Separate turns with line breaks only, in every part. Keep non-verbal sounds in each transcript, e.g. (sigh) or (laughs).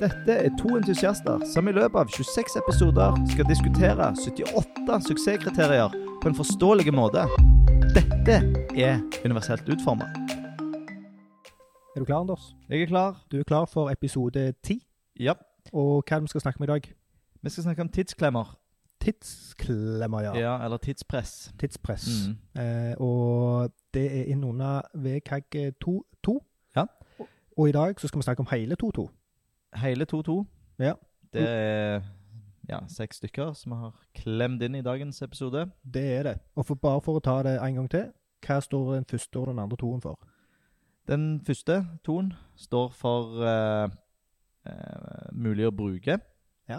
Dette er to entusiaster som i løpet av 26 episoder skal diskutere 78 suksesskriterier på en forståelig måte. Dette er universelt utforma.
Er du klar, Anders?
Jeg er klar.
Du er klar for episode 10,
Ja.
og hva er det vi skal snakke om i dag?
Vi skal snakke om tidsklemmer.
Tidsklemmer, ja.
Ja, eller tidspress.
Tidspress.
Mm.
Eh, og det er innunder VKG 2.2.
Ja.
Og, eh, og i dag så skal vi snakke om hele 2.2.
Hele 2-2.
Ja.
Det er ja, seks stykker som vi har klemt inn i dagens episode.
Det er det. Og for, bare for å ta det en gang til, hva står den første og den andre toen for?
Den første tonen står for eh, eh, mulig å bruke.
Ja.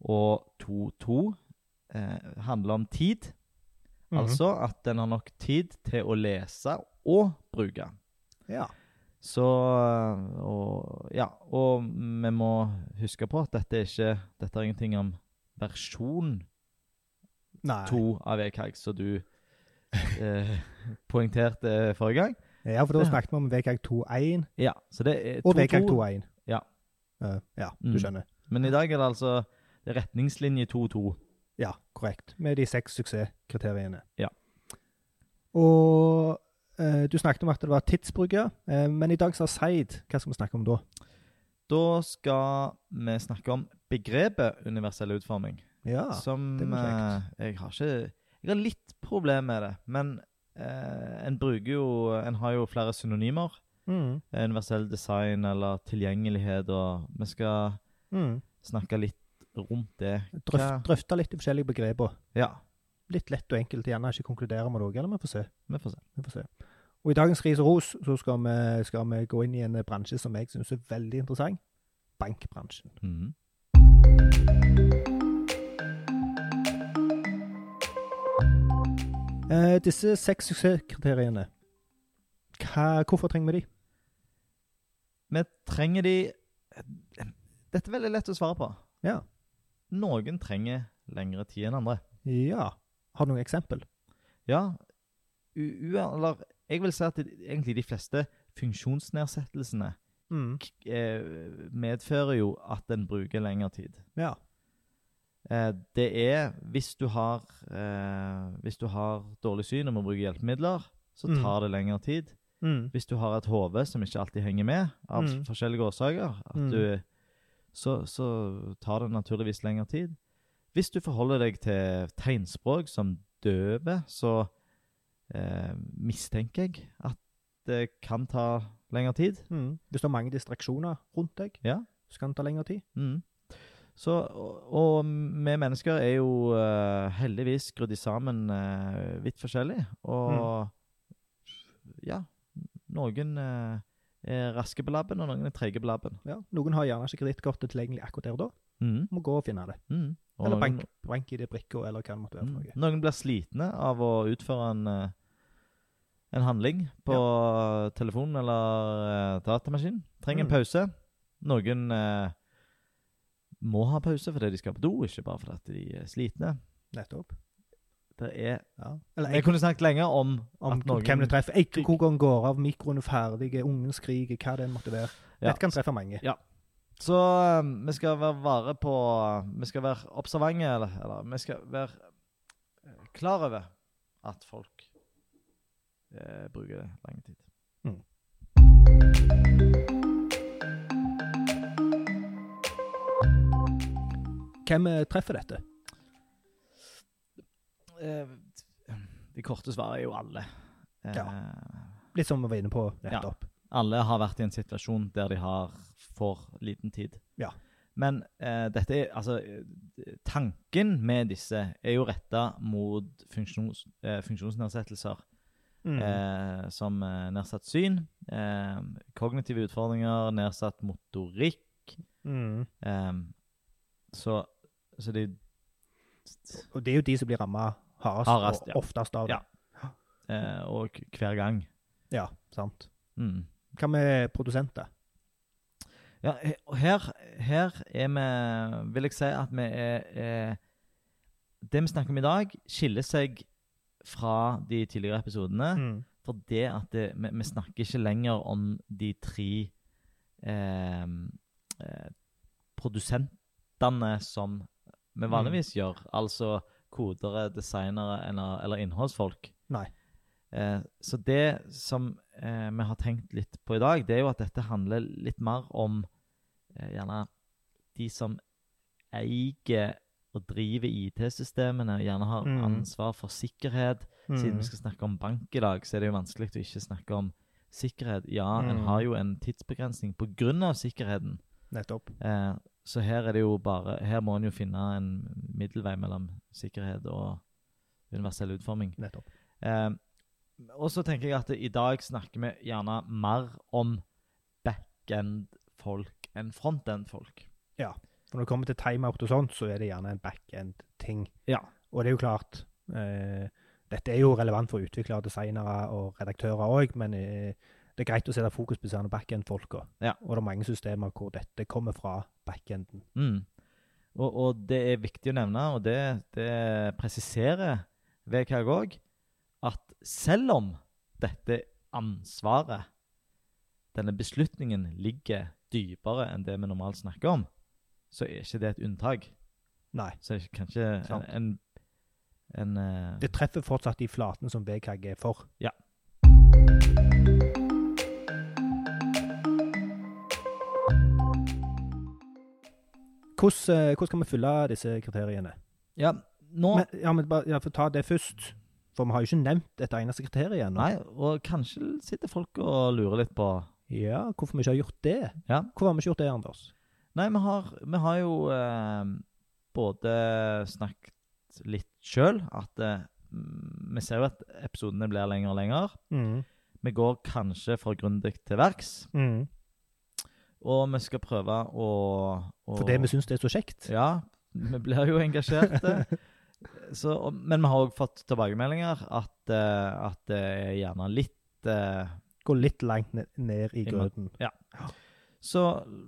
Og 2-2 eh, handler om tid.
Mhm.
Altså at den har nok tid til å lese og bruke.
Ja.
Så eh, og, Ja. Og vi må huske på at dette er ikke Dette er ingenting om versjon
Nei.
to av EKAG, som du eh, (laughs) poengterte forrige gang.
Ja, for da snakket vi om VKG 2.1
Ja, så det er
og
2-2.
VKG 2.1.
Ja.
Eh, ja,
Mm.
du skjønner.
Men i dag er det altså det er retningslinje 2-2.
Ja, korrekt. Med de seks suksesskriteriene.
Ja.
Og eh, du snakket om at det var tidsbruk, ja. Eh, men i dag sa Seid. Hva skal vi snakke om da?
Da skal vi snakke om begrepet universell utforming.
Ja.
som
det var kjekt.
eh, jeg har ikke Jeg har litt problem med det, men eh, en bruker jo En har jo flere synonymer.
Mm,
eh, Universell design eller tilgjengelighet og Vi skal
mm.
snakke litt rundt det.
Drøft,
Hva-
Drøfte litt de forskjellige begreper.
Ja,
Litt lett og enkelt. Gjerne ikke konkludere med noe, eller vi får se.
vi får se.
Vi får se. Og i dagens Ris og ros så skal vi, skal vi gå inn i en bransje som jeg syns er veldig interessant. Bankbransjen.
Mhm.
Eh, disse seks suksesskriteriene, hva, hvorfor trenger vi de?
Vi trenger de Dette er veldig lett å svare på.
Ja.
Noen trenger lengre tid enn andre.
Ja. Har du noen eksempel?
Ja, u u- eller jeg vil si at det, egentlig de fleste funksjonsnedsettelsene
Mm.
k- eh, medfører jo at en bruker lengre tid.
Ja.
Eh, det er hvis du har eh, Hvis du har dårlig syn og må bruke hjelpemidler, så
Mm.
tar det lengre tid.
Mm.
Hvis du har et hode som ikke alltid henger med av
Mm.
forskjellige årsaker, at
Mm.
du, så, så tar det naturligvis lengre tid. Hvis du forholder deg til tegnspråk som døve, så eh, mistenker jeg at det kan ta lengre tid.
Mm. Hvis det er mange distraksjoner rundt deg,
Ja.
så kan det ta lengre tid.
Mm. Så, og, og vi mennesker er jo eh, heldigvis skrudd i sammen eh, vidt forskjellig. Og
Mm.
ja, noen eh, er raske på labben, og noen er trege på labben.
Ja. Noen har gjerne ikke kredittkortet tilgjengelig akkurat der og da.
Mm.
Må gå og finne det.
Mm. Og
Eller
noen-
bank, bank i det brikka, eller hva det måtte være. for
Mm.
noe.
Noen blir slitne av å utføre en, eh, en handling på telefonen eller eh, datamaskin. Trenger
Mm.
en pause. Noen eh, må ha pause fordi de skal på do, ikke bare fordi at de er slitne.
Nettopp.
Det er
Ja. Eller
Jeg
jeg,
kunne snakket lenge om,
om
at noen
hvem du treffer. Jeg, hvordan går av, mikroen er ferdig, ungen skriker, hva det enn måtte være.
Ja.
Dette kan treffe mange.
Så eh, vi skal være vare på Vi skal være observante, eller, eller vi skal være eh, klar over at folk eh, bruker det lang tid.
Mm. Hvem eh, treffer dette?
Eh, Det korte svaret er jo alle. Eh,
Ja. Litt som vi var inne på nettopp.
Alle har vært i en situasjon der de har for liten tid.
Ja.
Men eh, dette er, altså, eh, tanken med disse er jo retta mot funksjons, eh, funksjonsnedsettelser
Mm.
eh, som eh, nedsatt syn, eh, kognitive utfordringer, nedsatt motorikk.
Mm.
Eh, så, så det
Og det er jo de som blir ramma hardest,
Hardest, ja.
og oftest av det.
Ja. eh, Og k- hver gang.
Ja, sant.
Mm.
Hva med produsenter?
Ja, he- og her, her er vi Vil jeg si at vi er, er Det vi snakker om i dag, skiller seg fra de tidligere episodene.
Mm.
For det at det, vi, vi snakker ikke lenger om de tre eh, eh, produsentene som vi vanligvis gjør, altså kodere, designere eller, eller innholdsfolk.
Nei.
Eh, så det som eh, vi har tenkt litt på i dag, det er jo at dette handler litt mer om eh, gjerne de som eier og driver IT-systemene, gjerne har
Mhm.
ansvar for sikkerhet, siden
Mm.
vi skal snakke om bank i dag, så er det jo vanskelig å ikke snakke om sikkerhet. Ja, en
Mm.
har jo en tidsbegrensning pga. sikkerheten.
Nettopp.
Eh, så her er det jo bare Her må en jo finne en middelvei mellom sikkerhet og universell utforming.
Nettopp.
Eh, og så tenker jeg at i dag snakker vi gjerne mer om backend-folk enn frontend-folk.
For når det kommer til timeout og sånt, så er det gjerne en backend-ting.
Ja.
Og det er jo klart eh, Dette er jo relevant for utviklere, designere og redaktører òg, men eh, det er greit å sette fokus på disse backend-folka.
Ja.
Og det er mange systemer hvor dette kommer fra backenden.
Mm. Og, og det er viktig å nevne, og det, det presiserer VKG òg, at selv om dette ansvaret, denne beslutningen, ligger dypere enn det vi normalt snakker om, så er ikke det et unntak.
Nei.
Så er det kanskje en,
Sant.
en, en eh,
Det treffer fortsatt de flatene som VKG er for.
Ja.
Hvordan, eh, hvordan kan vi fylle disse kriteriene?
Ja, nå
Men, ja, men bare ja, for ta det først. For vi har jo ikke nevnt et eneste kriterium ennå.
Nei, og kanskje sitter folk og lurer litt på
Ja, hvorfor vi ikke har gjort det?
Ja.
Hvorfor har vi ikke gjort det, Anders?
Nei, vi har, vi har jo eh, både snakket litt sjøl at eh, mm, Vi ser jo at episodene blir lenger og lenger.
Mm.
Vi går kanskje for grundig til verks.
Mm.
Og vi skal prøve å, å
For det vi syns er så kjekt.
Ja, vi blir jo engasjerte. Så, og- men vi har òg fått tilbakemeldinger at, eh, at det er gjerne litt eh,
Gå litt langt ned, ned i
I
grøten.
Så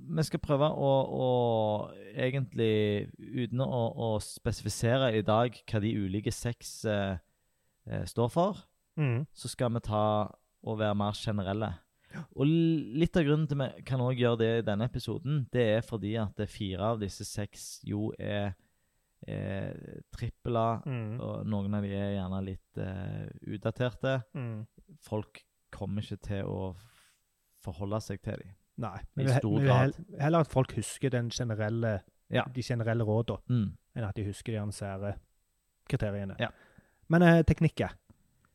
vi skal prøve å, å egentlig, uten å, å spesifisere i dag hva de ulike seks eh, eh, står for,
Mm.
så skal vi ta og være mer generelle. Og l- litt av grunnen til vi kan også gjøre det i denne episoden, det er fordi at det er fire av disse seks jo er, er trippel A,
Mm.
og noen av de er gjerne litt eh, utdaterte.
Mm.
Folk kommer ikke til å f- forholde seg til dem.
Nei.
I
Men vi,
stor
vi, vil
grad.
hell- heller at folk husker den generelle,
Ja.
de generelle rådene.
Mm.
enn at de husker de ansære kriteriene.
Ja.
Men eh, teknikker.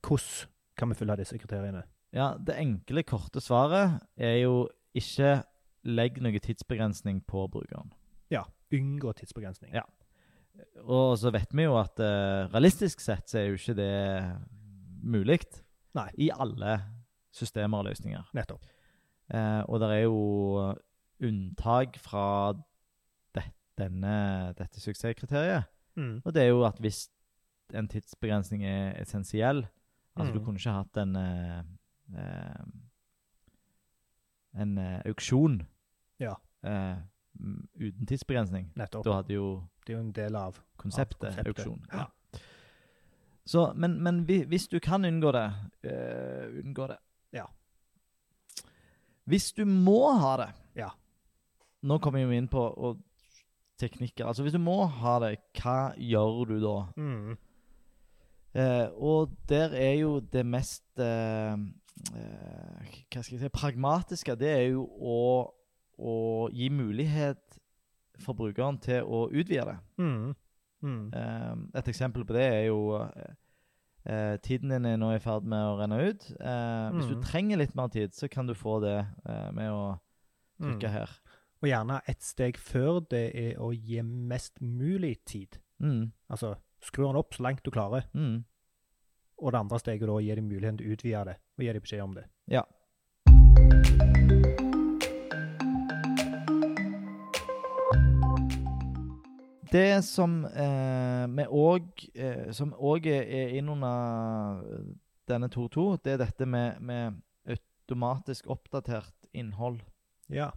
Hvordan kan vi fylle disse kriteriene?
Ja, det enkle, korte svaret er jo ikke legg noe tidsbegrensning på brukeren.
Unngå tidsbegrensning.
Ja. Og så vet vi jo at eh, realistisk sett så er jo ikke det mulig
Nei.
i alle systemer og løsninger.
Nettopp.
Eh, og det er jo unntak fra det, denne, dette suksesskriteriet.
Mm.
Og det er jo at hvis en tidsbegrensning er essensiell Altså, du
Mm.
kunne ikke hatt en eh, eh, En eh, auksjon
Ja.
eh, m- uten tidsbegrensning.
Nettopp.
Da hadde jo
Det er jo en del av
konseptet,
Av konseptet.
auksjon.
Ja.
Så, men, men hvi- hvis du kan unngå det eh, Unngå det.
Ja.
Hvis du må ha det
Ja.
Nå kommer vi jo inn på og teknikker. Altså, hvis du må ha det, hva gjør du da?
mm.
Eh, og der er jo det mest eh, eh, Hva skal jeg si pragmatiske. Det er jo å, å gi mulighet for brukeren til å utvide det.
Mm. Mm.
Eh, et eksempel på det er jo eh, eh, Tiden din er nå i ferd med å renne ut. Eh, Hvis du
Mhm.
trenger litt mer tid, så kan du få det eh, med å trykke
Mm.
her.
Og gjerne et steg før det er å gi mest mulig tid.
Mm,
Altså skru den opp så langt du klarer,
mm.
og det andre steget er da å gi dem muligheten til å utvide det, og gi dem beskjed om det.
Ja. Det som eh, vi òg eh, Som òg er, er innunder denne 2.2, det er dette med, med automatisk oppdatert innhold.
Ja.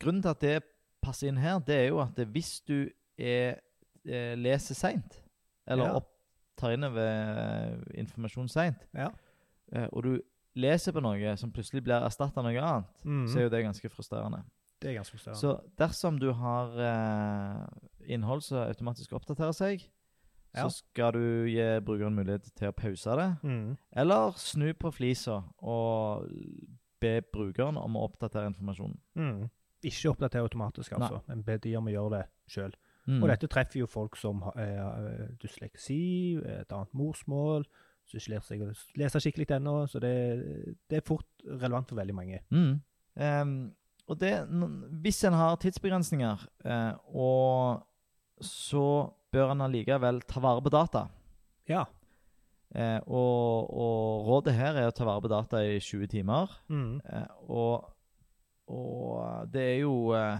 Grunnen til at det passer inn her, det er jo at det, hvis du er, eh, leser seint, eller
Ja.
opp, tar innover eh, informasjon seint,
Ja.
Eh, og du leser på noe som plutselig blir erstatta av noe annet,
Mm.
så er jo det ganske frustrerende.
Det er ganske større.
Så dersom du har eh, innhold som automatisk oppdaterer seg,
Ja.
så skal du gi brukeren mulighet til å pause det.
Mm.
Eller snu på flisa og be brukeren om å oppdatere informasjonen.
Mm. Ikke oppdatere automatisk, altså. Men be de om å gjøre det sjøl.
Mm.
Og dette treffer jo folk som har eh, dysleksi, et annet morsmål, som ikke lærer seg å lese skikkelig ennå. Så det, det er fort relevant for veldig mange.
Mm. Ehm, og det, n- hvis en har tidsbegrensninger, eh, og så bør en allikevel ta vare på data.
Ja.
Eh, og, og rådet her er å ta vare på data i 20 timer.
Mm.
Eh, og, og det er jo eh,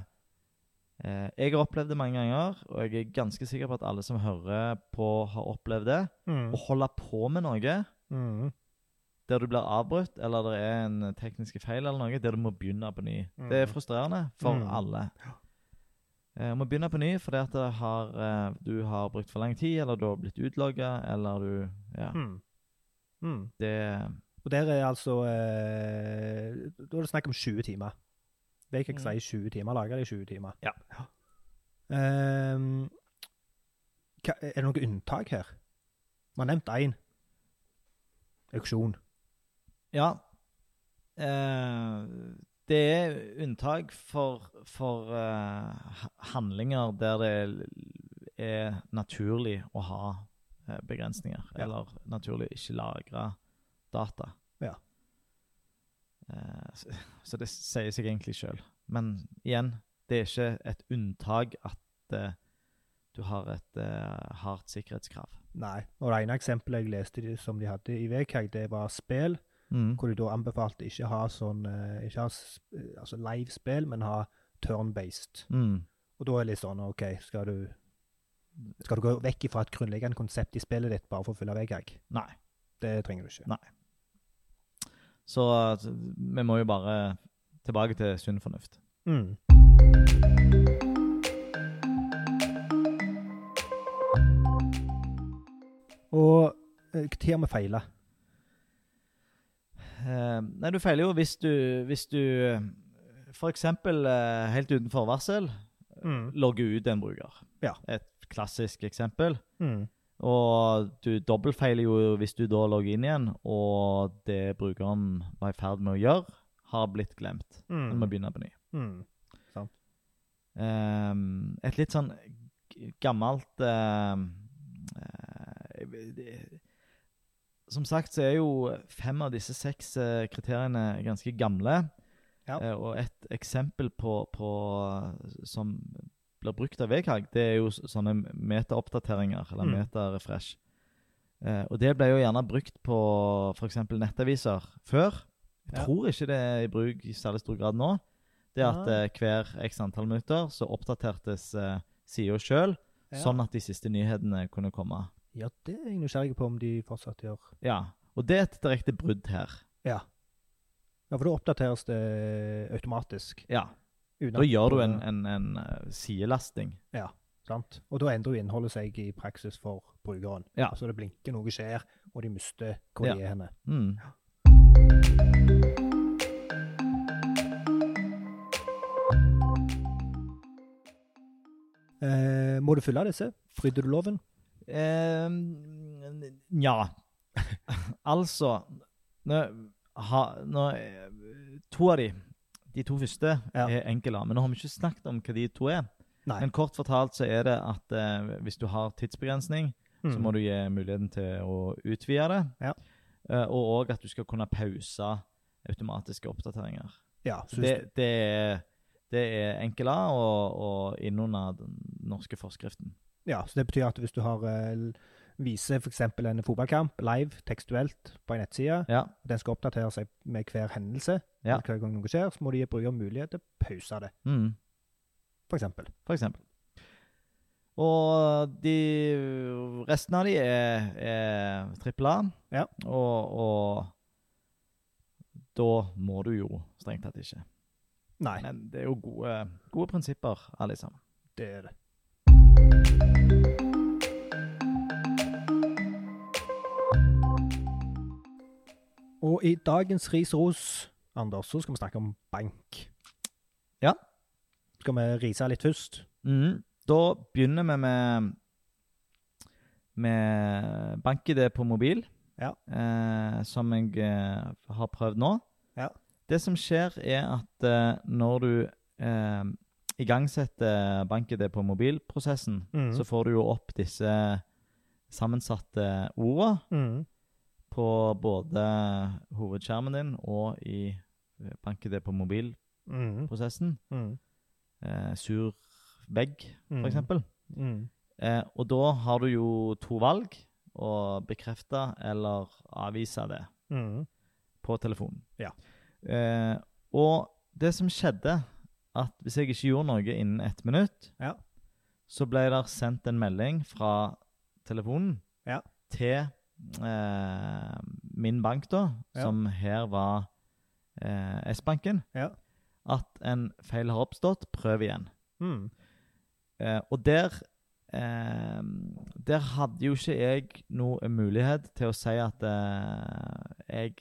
eh, Jeg har opplevd det mange ganger, og jeg er ganske sikker på at alle som hører på, har opplevd det.
Mm.
Å holde på med noe
Mm.
der du blir avbrutt, eller det er en teknisk feil, eller noe, der du må begynne på ny.
Mm.
Det er frustrerende for
Mm.
alle. Eh, Du må begynne på ny fordi at det har, eh, du har brukt for lang tid, eller du har blitt utlogga, eller du Ja.
Mm. Mm.
Det
Og der er altså eh, Da er det snakk om 20 timer. Vil jeg
Mm.
ikke si 20 timer, lager det i 20 timer.
Ja.
Ehm, hva, er det noe unntak her? Vi har nevnt én. Auksjon.
Ja. Eh, Det er unntak for, for eh, ha- handlinger der det l- er naturlig å ha eh, begrensninger,
Ja.
eller naturlig å ikke lagre data.
Ja.
Eh, så, så det sier seg egentlig sjøl. Men igjen, det er ikke et unntak at eh, du har et eh, hardt sikkerhetskrav.
Nei. Og det ene eksempelet jeg leste de- som de hadde i VKG, det var spill,
Mm.
hvor de da anbefalte ikke ha sånn eh, Ikke ha s- eh, altså live spill, men ha turn-based.
Mm.
Og da er det litt sånn OK, skal du skal du gå vekk fra et grunnleggende konsept i spillet ditt bare for å fylle VKG?
Nei.
Det trenger du ikke.
Så eh, vi må jo bare tilbake til sunn fornuft.
Mm. Og eh, hva tid har vi feila?
Eh, nei, du feiler jo hvis du, hvis du eh, for eksempel eh, helt uten forvarsel Mm. logger ut en bruker.
Ja.
Et klassisk eksempel.
Mm.
Og du dobbeltfeiler jo hvis du da logger inn igjen, og det brukeren var i ferd med å gjøre, har blitt glemt. Du må
Mm.
begynne på ny.
Mm.
Ehm, et litt sånn g- gammelt ehm, eh, jeg vet- det- Som sagt så er jo fem av disse seks eh, kriteriene ganske gamle.
Ja.
Eh, og et eksempel på, på som blir brukt av VKG, det er jo s- sånne metaoppdateringer, eller
Mm.
metarefresh. Eh, og det ble jo gjerne brukt på f.eks. nettaviser før. Jeg
Ja.
tror ikke det er i bruk i særlig stor grad nå. Det at
Nei.
eh, hver x antall minutter så oppdatertes eh, sida sjøl,
Ja.
sånn at de siste nyhetene kunne komme.
ja, det er jeg nysgjerrig på om de fortsatt gjør.
Ja, Og det er et direkte brudd her.
Ja. ja, for da oppdateres det automatisk.
Ja,
uten
Da
at-
gjør du en, en, en eh, sidelasting.
Sant? Og da endrer jo innholdet seg i praksis for brukeren.
Ja.
Så det blinker, noe skjer, og de mister hvor
Ja.
de er henne.
Mm.
Eh, må du følge disse? Fryder du loven?
Eh, Nja (laughs) Altså nå, ha, nå, eh, To av de, de to første,
Ja.
er enkle. Men nå har vi ikke snakket om hva de to er.
Nei.
Men kort fortalt så er det at eh, hvis du har tidsbegrensning, så må du gi muligheten til å utvide det.
Mm. Ja.
Eh, og òg at du skal kunne pause automatiske oppdateringer.
Ja,
Så Det, det, er, det er enkel A og, og innunder den norske forskriften.
Ja, så det betyr at hvis du har eh, viser f.eks. en fotballkamp live, tekstuelt, på en nettside,
Ja.
og den skal oppdatere seg med hver hendelse,
Ja.
og hver gang noe skjer, så må du gi brukeren mulighet til å pause det,
Mm.
f.eks.
For eksempel. Og de Resten av de er, er trippel A.
Ja.
Og, og da må du jo strengt tatt ikke.
Nei,
Men det er jo gode, gode prinsipper, alle sammen.
det er det. Og i dagens ris og ros, Anders, så skal vi snakke om bank.
Ja.
Skal vi rise litt først?
Mm. Da begynner vi med, med bank-ID på mobil,
Ja.
eh, som jeg eh, har prøvd nå.
Ja.
Det som skjer, er at eh, når du eh, igangsetter bank-ID på mobilprosessen,
Mhm.
så får du jo opp disse sammensatte ordene
Mm.
på både hovedskjermen din og i eh, bank-ID på mobilprosessen.
Mm. Mm.
Eh, sur vegg, for
Mm.
eksempel.
Mm.
Eh, og da har du jo to valg. Å bekrefte eller avvise det
Mm.
på telefonen.
Ja.
Eh, og det som skjedde, at hvis jeg ikke gjorde noe innen ett minutt,
Ja.
så ble det sendt en melding fra telefonen
Ja.
til eh, min bank, da,
Ja.
som her var eh, S-banken,
Ja.
at en feil har oppstått. Prøv igjen.
Mm.
Eh, og der eh, Der hadde jo ikke jeg noe mulighet til å si at eh, jeg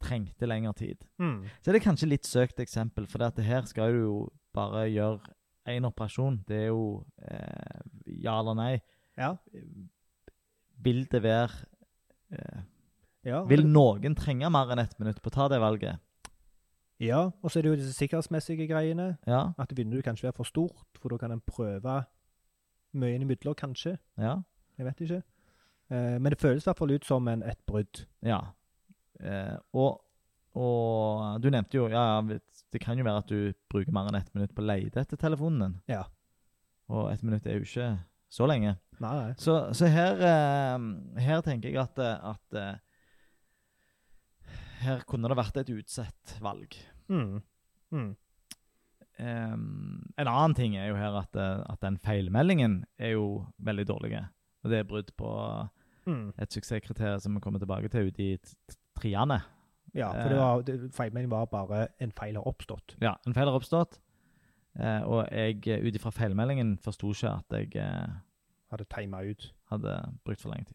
trengte lengre tid.
Mm.
Så er det kanskje litt søkt eksempel, for det at det her skal du jo bare gjøre én operasjon. Det er jo eh, ja eller nei.
Ja.
Vil det være eh,
Ja.
Vil noen trenge mer enn ett minutt på å ta det valget?
ja. Og så er det jo disse sikkerhetsmessige greiene.
Ja.
At vinduet kan ikke være for stort, for da kan en prøve mye innimellom, kanskje.
Ja.
Jeg vet ikke. Eh, men det føles i hvert fall ut som en, et brudd.
Ja. Eh, og, og du nevnte jo ja, ja, vet- Det kan jo være at du bruker mer enn ett minutt på å lete etter telefonen din.
Ja.
Og ett minutt er jo ikke så lenge.
Nei, nei.
Så, så her, eh, her tenker jeg at, eh, at eh, Her kunne det vært et utsett valg.
Mm. Mm.
Eh, en annen ting er jo her at, eh, at den feilmeldingen er jo veldig dårlig. Og det er brudd på
Mm.
et suksesskriterium som vi kommer tilbake til ute i t- t- triene.
Ja, for det var, det, feilmeldingen var bare en feil har oppstått.
Ja, en feil har oppstått. Eh, og jeg, eh, ut ifra feilmeldingen, forsto ikke at jeg eh,
Hadde tima ut.
hadde brukt for lang tid.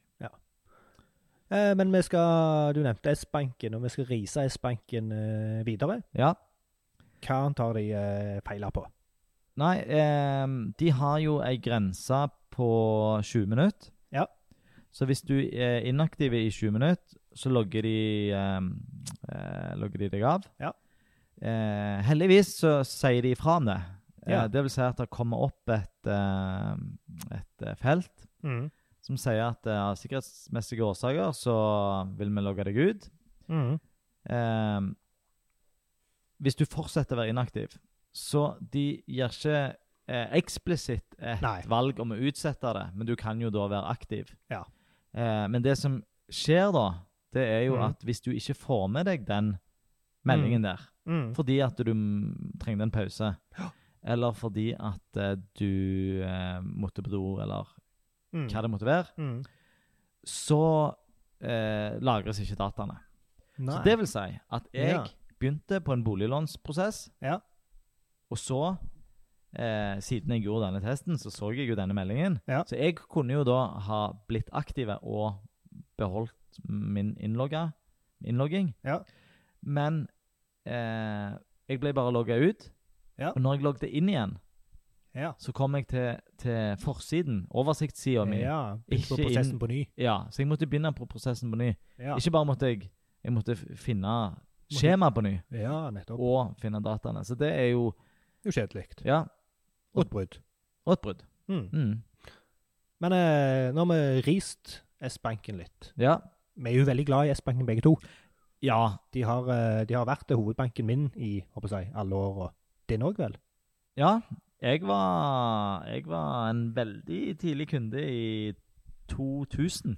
Eh, men vi skal, du nevnte S-banken, og vi skal rise S-banken eh, videre.
Ja.
Hva tar de eh, feiler på?
Nei, eh, de har jo ei grense på 20 minutter.
Ja.
Så hvis du er inaktiv i 20 minutter, så logger de, eh, eh, logger de deg av.
Ja.
Eh, heldigvis så sier de ifra om det.
Ja.
Eh, det vil si at det kommer opp et, eh, et eh, felt
Mm.
som sier at eh, av sikkerhetsmessige årsaker så vil vi logge deg ut.
Mm.
Eh, hvis du fortsetter å være inaktiv, så de gir ikke eh, eksplisitt et
Nei.
valg om å utsette det, men du kan jo da være aktiv.
Ja.
Eh, men det som skjer da, det er jo
Mhm.
at hvis du ikke får med deg den meldingen der,
Mm.
fordi at du mm, trengte en pause, eller fordi at eh, du eh, måtte på do, eller
Mm.
hva det måtte være,
Mm.
så eh, lagres ikke dataene.
Nei.
Så det vil si at jeg
Ja.
begynte på en boliglånsprosess,
Ja.
og så, eh, siden jeg gjorde denne testen, så så jeg jo denne meldingen.
Ja.
Så jeg kunne jo da ha blitt aktive og beholdt min innlogga, innlogging.
Ja.
Men eh, jeg ble bare logga ut,
Ja.
og når jeg logget inn igjen,
Ja.
så kom jeg til, til forsiden, oversiktssida mi.
ja. Begynte på
Ikke
prosessen
inn-
på ny.
Ja, så jeg måtte begynne på prosessen på ny.
Ja,
Ikke bare måtte jeg Jeg måtte f- finne skjema på ny,
ja nettopp.
og finne dataene. Så det er jo
Det er jo kjedelig.
Ja,
Og et brudd.
og et brudd.
Mm.
Mm.
Men eh, nå har vi rist S-banken litt.
Ja.
Vi er jo veldig glad i S-banken begge to.
ja.
De har, eh, de har vært til hovedbanken min i håper jeg, alle år, og din òg, vel?
Ja. Jeg var Jeg var en veldig tidlig kunde i 2000.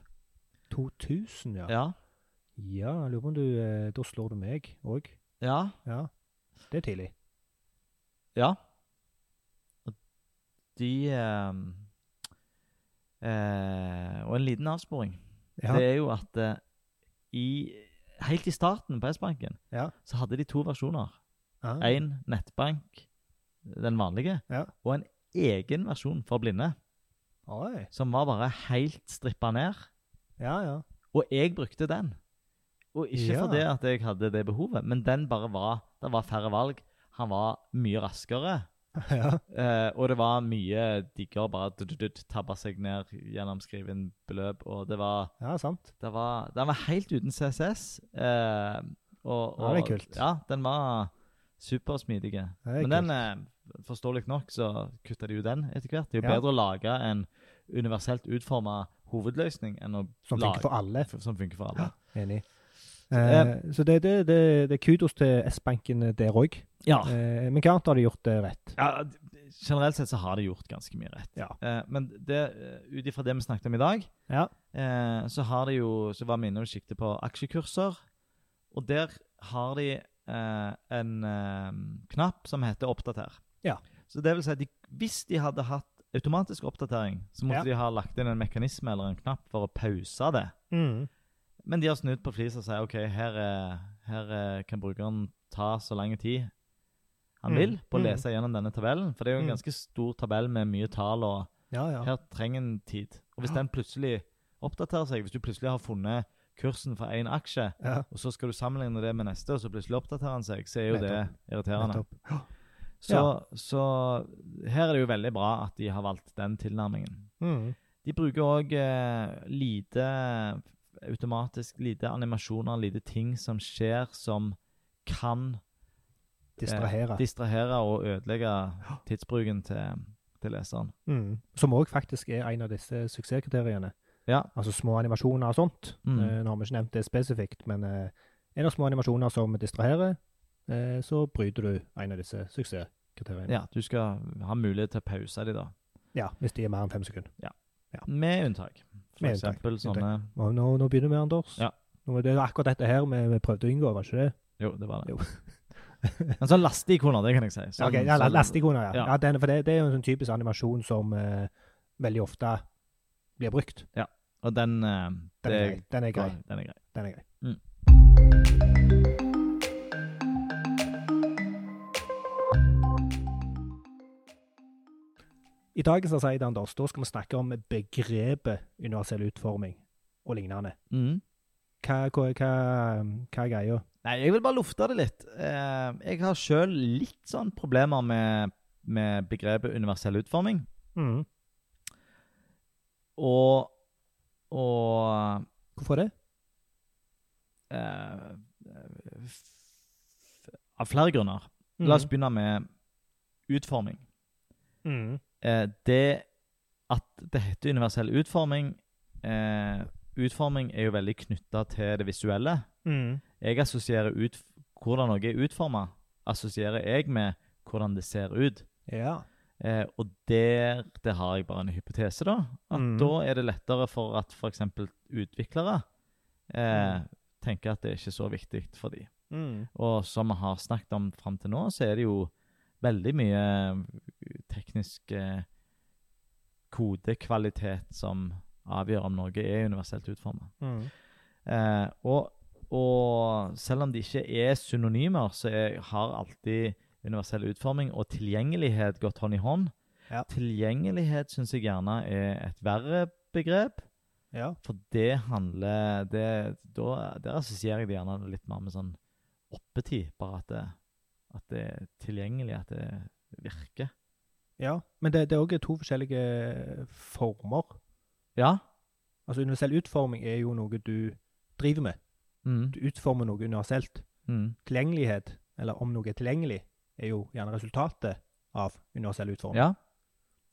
2000, ja.
Ja.
Ja, jeg lurer på om du eh, Da slår du meg òg.
Ja.
Ja. Det er tidlig.
ja. Og de eh, eh, Og en liten avsporing.
Ja.
Det er jo at eh, i Helt i starten på S-banken
Ja.
så hadde de to versjoner.
ah.
Én nettbank, den vanlige,
Ja.
og en egen versjon for blinde,
Oi.
som var bare helt strippa ned.
Ja, ja.
Og jeg brukte den. Og ikke
Ja.
fordi at jeg hadde det behovet, men den bare var Det var færre valg. Han var mye raskere.
(laughs) ja.
Eh, og det var mye diggere bare dutt, dutt, dutt, tabba seg ned gjennom skriven beløp. Og det var,
ja, sant.
det var Den var helt uten CSS. eh, og,
Ja,
og,
det er kult.
Ja, den var supersmidig.
Det er
Men den, eh, forståelig nok, så kutta de jo den etter hvert. Det er jo
Ja.
bedre å lage en universelt utforma hovedløsning enn å
Som
lag-
funker Sånn for alle.
f- som funker for alle.
Enig.
eh,
Eh, så det, det, det, det er kudos til S-banken der òg.
Ja.
Eh, men hva annet har de gjort eh, rett?
ja. d- Generelt sett så har de gjort ganske mye rett.
Ja.
Eh, men det, eh, ut ifra det vi snakket om i dag,
Ja.
eh, så har de jo, så var vi inne og siktet på aksjekurser. Og der har de eh, en eh, knapp som heter 'oppdater'.
Ja.
Så det vil si at de, hvis de hadde hatt automatisk oppdatering, så måtte
Ja.
de ha lagt inn en mekanisme eller en knapp for å pause det.
Mm.
Men de har snudd på flisa og sier OK, her, er, her er, kan brukeren ta så lang tid han
Mm.
vil på å
Mm.
lese gjennom denne tabellen. For det er jo en
Mm.
ganske stor tabell med mye tall, og
Ja, ja.
her trenger en tid. Og hvis
Ja.
den plutselig oppdaterer seg, hvis du plutselig har funnet kursen for én aksje,
ja.
og så skal du sammenligne det med neste, og så plutselig oppdaterer han seg, så er jo
Nettopp.
det irriterende.
Nettopp. Ja.
Så, så her er det jo veldig bra at de har valgt den tilnærmingen.
Mm.
De bruker òg eh, lite automatisk, lite animasjoner, lite ting som skjer som kan
Distrahere.
eh, distrahere og ødelegge tidsbruken til, til leseren.
Mm. Som òg faktisk er en av disse suksesskriteriene.
Ja.
Altså små animasjoner og sånt.
Mm.
Eh, nå har vi ikke nevnt det spesifikt, men eh, er det små animasjoner som distraherer, eh, så bryter du en av disse suksesskriteriene.
Ja, du skal ha mulighet til å pause de da.
Ja, hvis de er mer enn fem sekunder.
Med unntak. For
Med unntak,
eksempel sånne
Og nå, nå begynner vi, Anders.
Ja.
Nå, det er akkurat dette her vi, vi prøvde å unngå, var ikke det?
Jo, det var det.
Jo.
(laughs) Men sånn lasteikoner, det kan jeg si. Sånn-
Ok, ja, la-
sånn-
Lasteikoner, ja.
ja.
ja. den, for det, det er jo en sånn typisk animasjon som eh, veldig ofte blir brukt.
Og den, eh,
Den er,
det-
grei. den er grei.
Den er grei.
Den er grei.
Mm.
I dagens Aside, Anders, da skal vi snakke om begrepet universell utforming og lignende.
Mm.
Hva, hva, hva, hva er greia?
Nei, jeg vil bare lufte det litt. Eh, jeg har sjøl litt sånn problemer med, med begrepet universell utforming.
Mm.
Og, og
Hvorfor det?
eh, f- Av flere grunner. La
Mhm.
oss begynne med utforming.
Mm.
Eh, det at det heter universell utforming eh, Utforming er jo veldig knytta til det visuelle.
Mm.
Jeg assosierer ut, hvordan noe er utforma, assosierer jeg med hvordan det ser ut.
Ja.
Eh, og der, der har jeg bare en hypotese, da. At
Mm.
da er det lettere for at f.eks. utviklere eh, tenker at det er ikke så viktig for dem.
Mm.
Og som vi har snakket om fram til nå, så er det jo veldig mye teknisk eh, kodekvalitet som avgjør om noe er universelt utforma.
Mm.
Eh, og, og selv om de ikke er synonymer, så er, har alltid universell utforming og tilgjengelighet gått hånd i hånd.
Ja.
Tilgjengelighet syns jeg gjerne er et verre begrep,
Ja.
for det handler det, da, Der assosierer jeg det gjerne litt mer med sånn oppetid, bare at det, at det er tilgjengelig, at det virker.
Ja, men det, det er òg to forskjellige former.
Ja.
Altså Universell utforming er jo noe du driver med.
Mm,
Du utformer noe universelt.
mm,
Tilgjengelighet, eller om noe er tilgjengelig, er jo gjerne resultatet av universell utforming.
ja.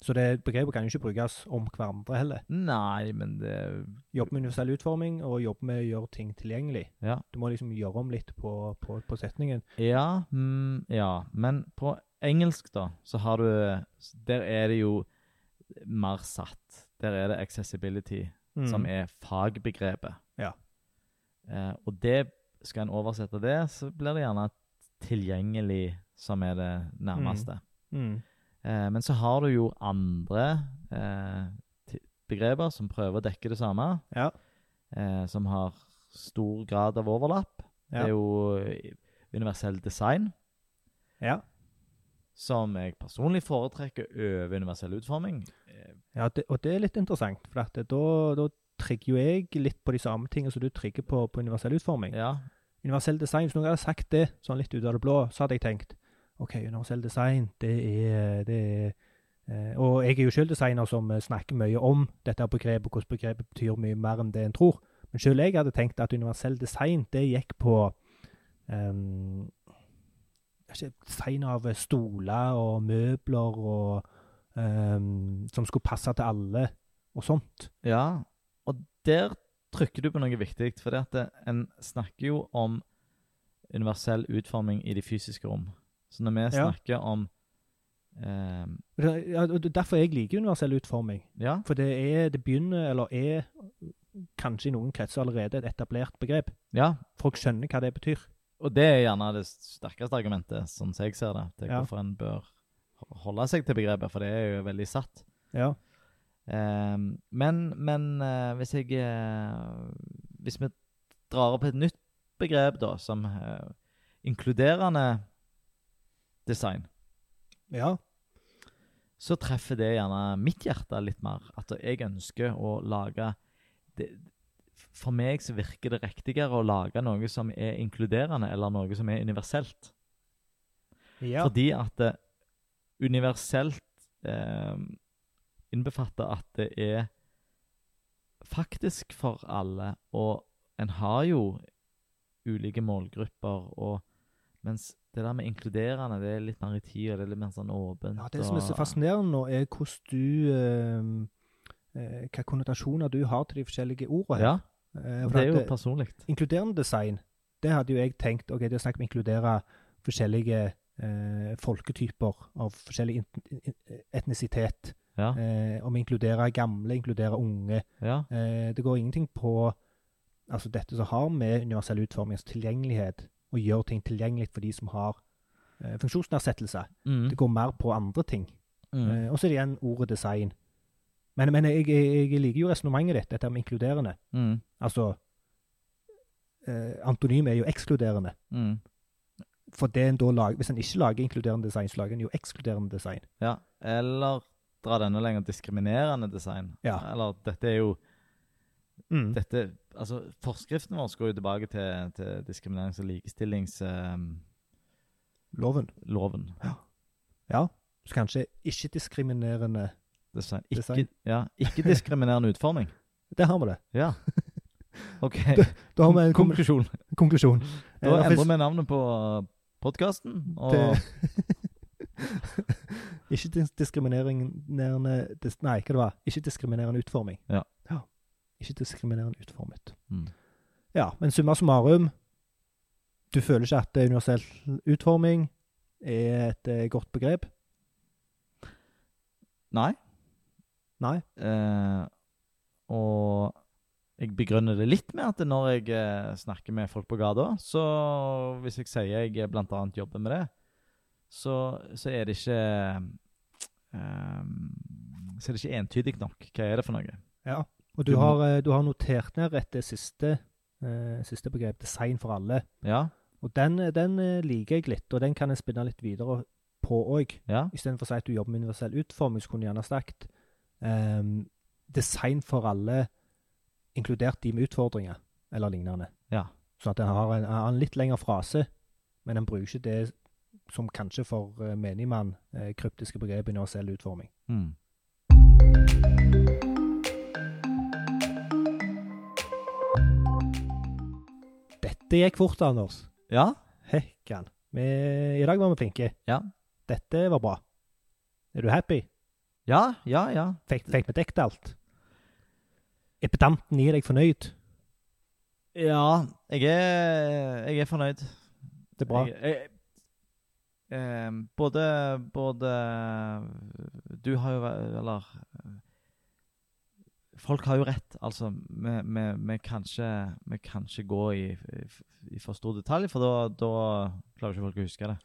Så det begrepet kan jo ikke brukes om hverandre heller.
Nei, men det
Jobbe med universell utforming og jobbe med å gjøre ting tilgjengelig.
Ja.
Du må liksom gjøre om litt på, på, på setningen.
Ja, mm, ja, men på engelsk da, så har du Der er det jo mer satt. Der er det accessibility,
Mm.
som er fagbegrepet.
Ja.
Eh, og det skal en oversette det, så blir det gjerne tilgjengelig som er det nærmeste.
Mm.
Eh, men så har du jo andre eh, ti- begreper som prøver å dekke det samme,
Ja.
eh, som har stor grad av overlapp.
Ja.
Det er jo eh, universell design
Ja.
som jeg personlig foretrekker over universell utforming.
Ja, det, og det er litt interessant, for at det, da, da trigger jo jeg litt på de samme tingene som du trigger på, på universell utforming.
Ja.
Universell design, hvis noen hadde sagt det sånn litt ut av det blå, så hadde jeg tenkt OK, universell design, det er, det er eh, Og jeg er jo selv designer som eh, snakker mye om dette her begrepet, hvordan begrepet betyr mye mer enn det en tror. Men selv jeg hadde tenkt at universell design, det gikk på ehm, ikke, Design av eh, stoler og møbler og ehm, Som skulle passe til alle, og sånt.
ja. Og der trykker du på noe viktig, for det at det, en snakker jo om universell utforming i de fysiske rom. Så når vi
Ja.
snakker om eh,
Og det- ja, og det er Derfor jeg liker universell utforming.
Ja,
For det er, det begynner, eller er kanskje i noen kretser allerede et etablert begrep.
ja.
Folk skjønner hva det betyr.
Og det er gjerne det sterkeste argumentet, sånn som jeg ser det, til
Ja.
hvorfor en bør holde seg til begrepet, for det er jo veldig satt.
Ja.
Eh, men men eh, hvis jeg eh, Hvis vi drar opp et nytt begrep, da, som eh, inkluderende design,
Ja.
så treffer det gjerne mitt hjerte litt mer. At jeg ønsker å lage det, For meg så virker det riktigere å lage noe som er inkluderende, eller noe som er universelt.
ja.
Fordi at det universelt eh, innbefatter at det er faktisk for alle, og en har jo ulike målgrupper, og mens det der med inkluderende, det er litt mer i tid, og det er litt mer sånn åpent.
Det som er så
og-
fascinerende nå, er hvordan du eh, eh, Hvilke konnotasjoner du har til de forskjellige ordene. her.
Ja,
Eh,
og
for
det er jo
at,
personlig.
inkluderende design, det hadde jo jeg tenkt OK, det er snakk om å inkludere forskjellige eh, folketyper av forskjellig in- in- etnisitet.
Ja,
Eh, om å inkludere gamle, inkludere unge.
ja,
Eh, det går ingenting på altså dette som har med universell utformings tilgjengelighet å gjøre ting tilgjengelig for de som har eh, funksjonsnedsettelse.
mm,
Det går mer på andre ting.
mm,
Eh, og så er det igjen ordet design. Men, men jeg, jeg, jeg liker jo resonnementet ditt, dette med inkluderende.
mm,
Altså eh, Antonym er jo ekskluderende.
mm.
For det en da lager, Hvis en ikke lager inkluderende design, så lager en jo ekskluderende design.
Ja, eller dra denne lenger diskriminerende design.
Ja.
Eller dette er jo
Mm.
dette, altså Forskriften vår går jo tilbake til, til diskriminerings- og likestillingsloven.
Loven. Ja. Så kanskje ikke-diskriminerende
Design.
Design.
Ikke, ja, ikke diskriminerende utforming.
Der har vi det.
Ja. OK.
Da har vi en kom
Konklusjon.
konklusjon. Eh,
Da
det
endrer
finnes-
vi navnet på podkasten. Og
Det- Ikke dis- diskriminerende dis Nei, hva det var? Ikke diskriminerende utforming.
Ja.
Ikke diskriminerende utformet.
Mm.
Ja, men summa summarum Du føler ikke at eh, universell utforming er et eh, godt begrep?
Nei.
Nei.
Eh, og jeg begrunner det litt med at når jeg eh, snakker med folk på gata, så hvis jeg sier jeg eh, blant annet jobber med det, så, så er det ikke eh, Så er det ikke entydig nok. Hva er det for noe?
Ja. Og du
Du må-
har, eh, du har notert ned etter siste, eh, siste begrep, design for alle.
Ja,
Og den, eh, den eh, liker jeg litt, og den kan jeg spinne litt videre på òg.
ja,
Istedenfor å si at du jobber med universell utforming, så kunne du gjerne sagt ehm, design for alle, inkludert de med utfordringer, eller lignende.
ja.
Så at en har en, har en litt lengre frase, men en bruker ikke det som kanskje for eh, menigmann eh, kryptiske begrep universell utforming.
Mm.
Dette gikk fort, Anders.
Ja,
Hekkan. Vi, I dag var vi flinke.
Ja.
Dette var bra. Er du happy?
ja, ja. ja.
Fikk, fikk vi dekket alt? Er pedanten i deg fornøyd?
Ja, jeg er, jeg er fornøyd.
Det er bra.
Jeg, jeg, eh, både, både Du har jo væ- Eller eh, Folk har jo rett. Altså, vi, vi, vi, kan, ikke, vi kan ikke gå i, i for stor detalj, for da, da klarer ikke folk å huske det.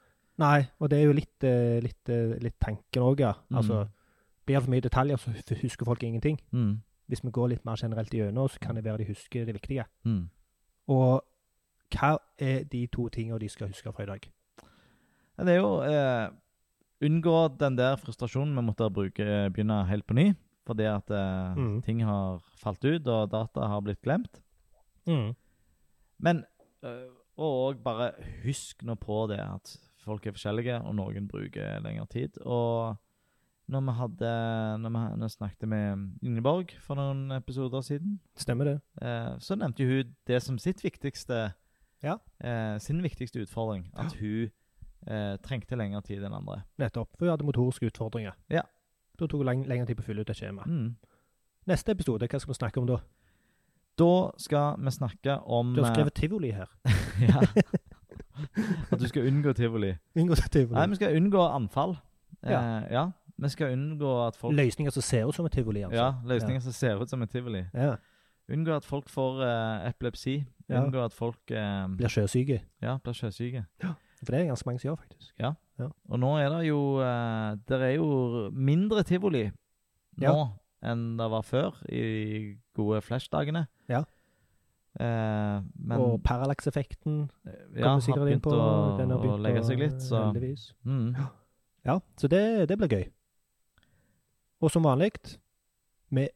Nei, og det er jo litt, eh, litt, eh, litt tanken òg, ja.
Mm.
Altså, blir det for mye detaljer, så hu- husker folk ingenting.
Mm.
Hvis vi går litt mer generelt igjennom, så kan det være de husker det viktige.
Mm.
Og hva er de to tingene de skal huske fra i dag?
Ja, det er jo eh, Unngå den der frustrasjonen med å måtte bruke, begynne helt på ny. fordi at eh,
Mm.
ting har falt ut, og data har blitt glemt.
Mm.
Men eh, og også bare husk nå på det at folk er forskjellige, og noen bruker lengre tid. Og når vi hadde Når vi når vi snakket med Ingeborg for noen episoder siden,
Stemmer det.
eh, så nevnte jo hun det som sitt viktigste
Ja.
eh, sin viktigste utfordring. At hun eh, trengte lengre tid enn andre.
Nettopp. For vi hadde motoriske utfordringer.
Ja.
Da tok det leng lengre tid på å fylle ut et skjema.
Mm.
Neste episode, hva skal vi snakke om da?
Da skal vi snakke om
Du har
eh,
skrevet tivoli her.
(laughs)
(laughs)
ja. At du skal unngå tivoli.
Unngå
Nei,
tivoli.
vi skal unngå anfall. Eh, ja.
Ja.
Vi skal unngå at folk
Løsninger som ser ut som et tivoli, altså.
Ja, løsninger som ser ut som et tivoli.
Ja.
Unngå at folk får eh, epilepsi.
Ja.
Unngå at folk eh,
Blir sjøsyke.
ja, blir sjøsyke.
For det er ganske mange som gjør, faktisk.
Og nå er det jo eh, Det er jo mindre tivoli nå enn det var før i de gode flashdagene.
Ja.
Eh, men eh,
og parallakseffekten
ja,
kommer vi
har
sikkert inn
begynt
på.
å,
Den har
å
begynt
legge
å-
seg litt, så
Heldigvis.
mm.
Ja, så det, det blir gøy. Og som vanlig, vi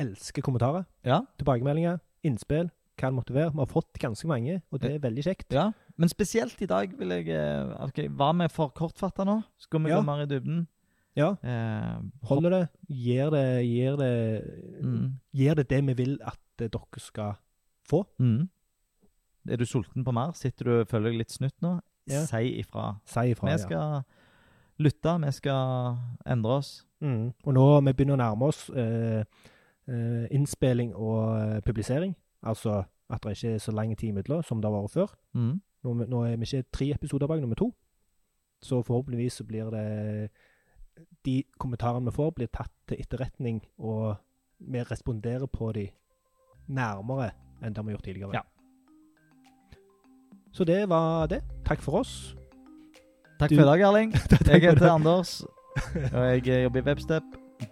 elsker kommentarer,
Ja.
tilbakemeldinger, innspill, hva det måtte være. Vi har fått ganske mange, og det er veldig kjekt.
Ja, men spesielt i dag vil jeg eh, Ok, Var vi for kortfatta nå? Skal vi
Ja.
gå mer i dybden?
Ja.
Eh, hopp-
Holder det, gir det, gir det,
Mm,
gir det det vi vil at eh, dere skal få.
mm. Er du sulten på mer? Sitter du og føler deg litt snytt nå?
Ja.
Si ifra.
Si ifra.
Vi
Ja.
skal lytte, vi skal endre oss.
Mm. Og nå vi begynner å nærme oss eh, eh, innspilling og eh, publisering, altså at det ikke er så lang tid imellom som det har vært før.
Mm.
Nå, nå er vi ikke tre episoder bak, nummer to. Så forhåpentligvis så blir det De kommentarene vi får, blir tatt til etterretning, og vi responderer på de nærmere enn det vi har gjort tidligere.
Ja.
Så det var det. Takk for oss.
Takk
Du-
for i dag,
(laughs)
Erling. Jeg
for i
heter
dag.
Anders, og jeg eh, jobber i Webstep.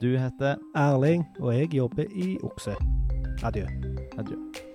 Du heter
Erling og jeg jobber i Okse. Adjø.
Adjø.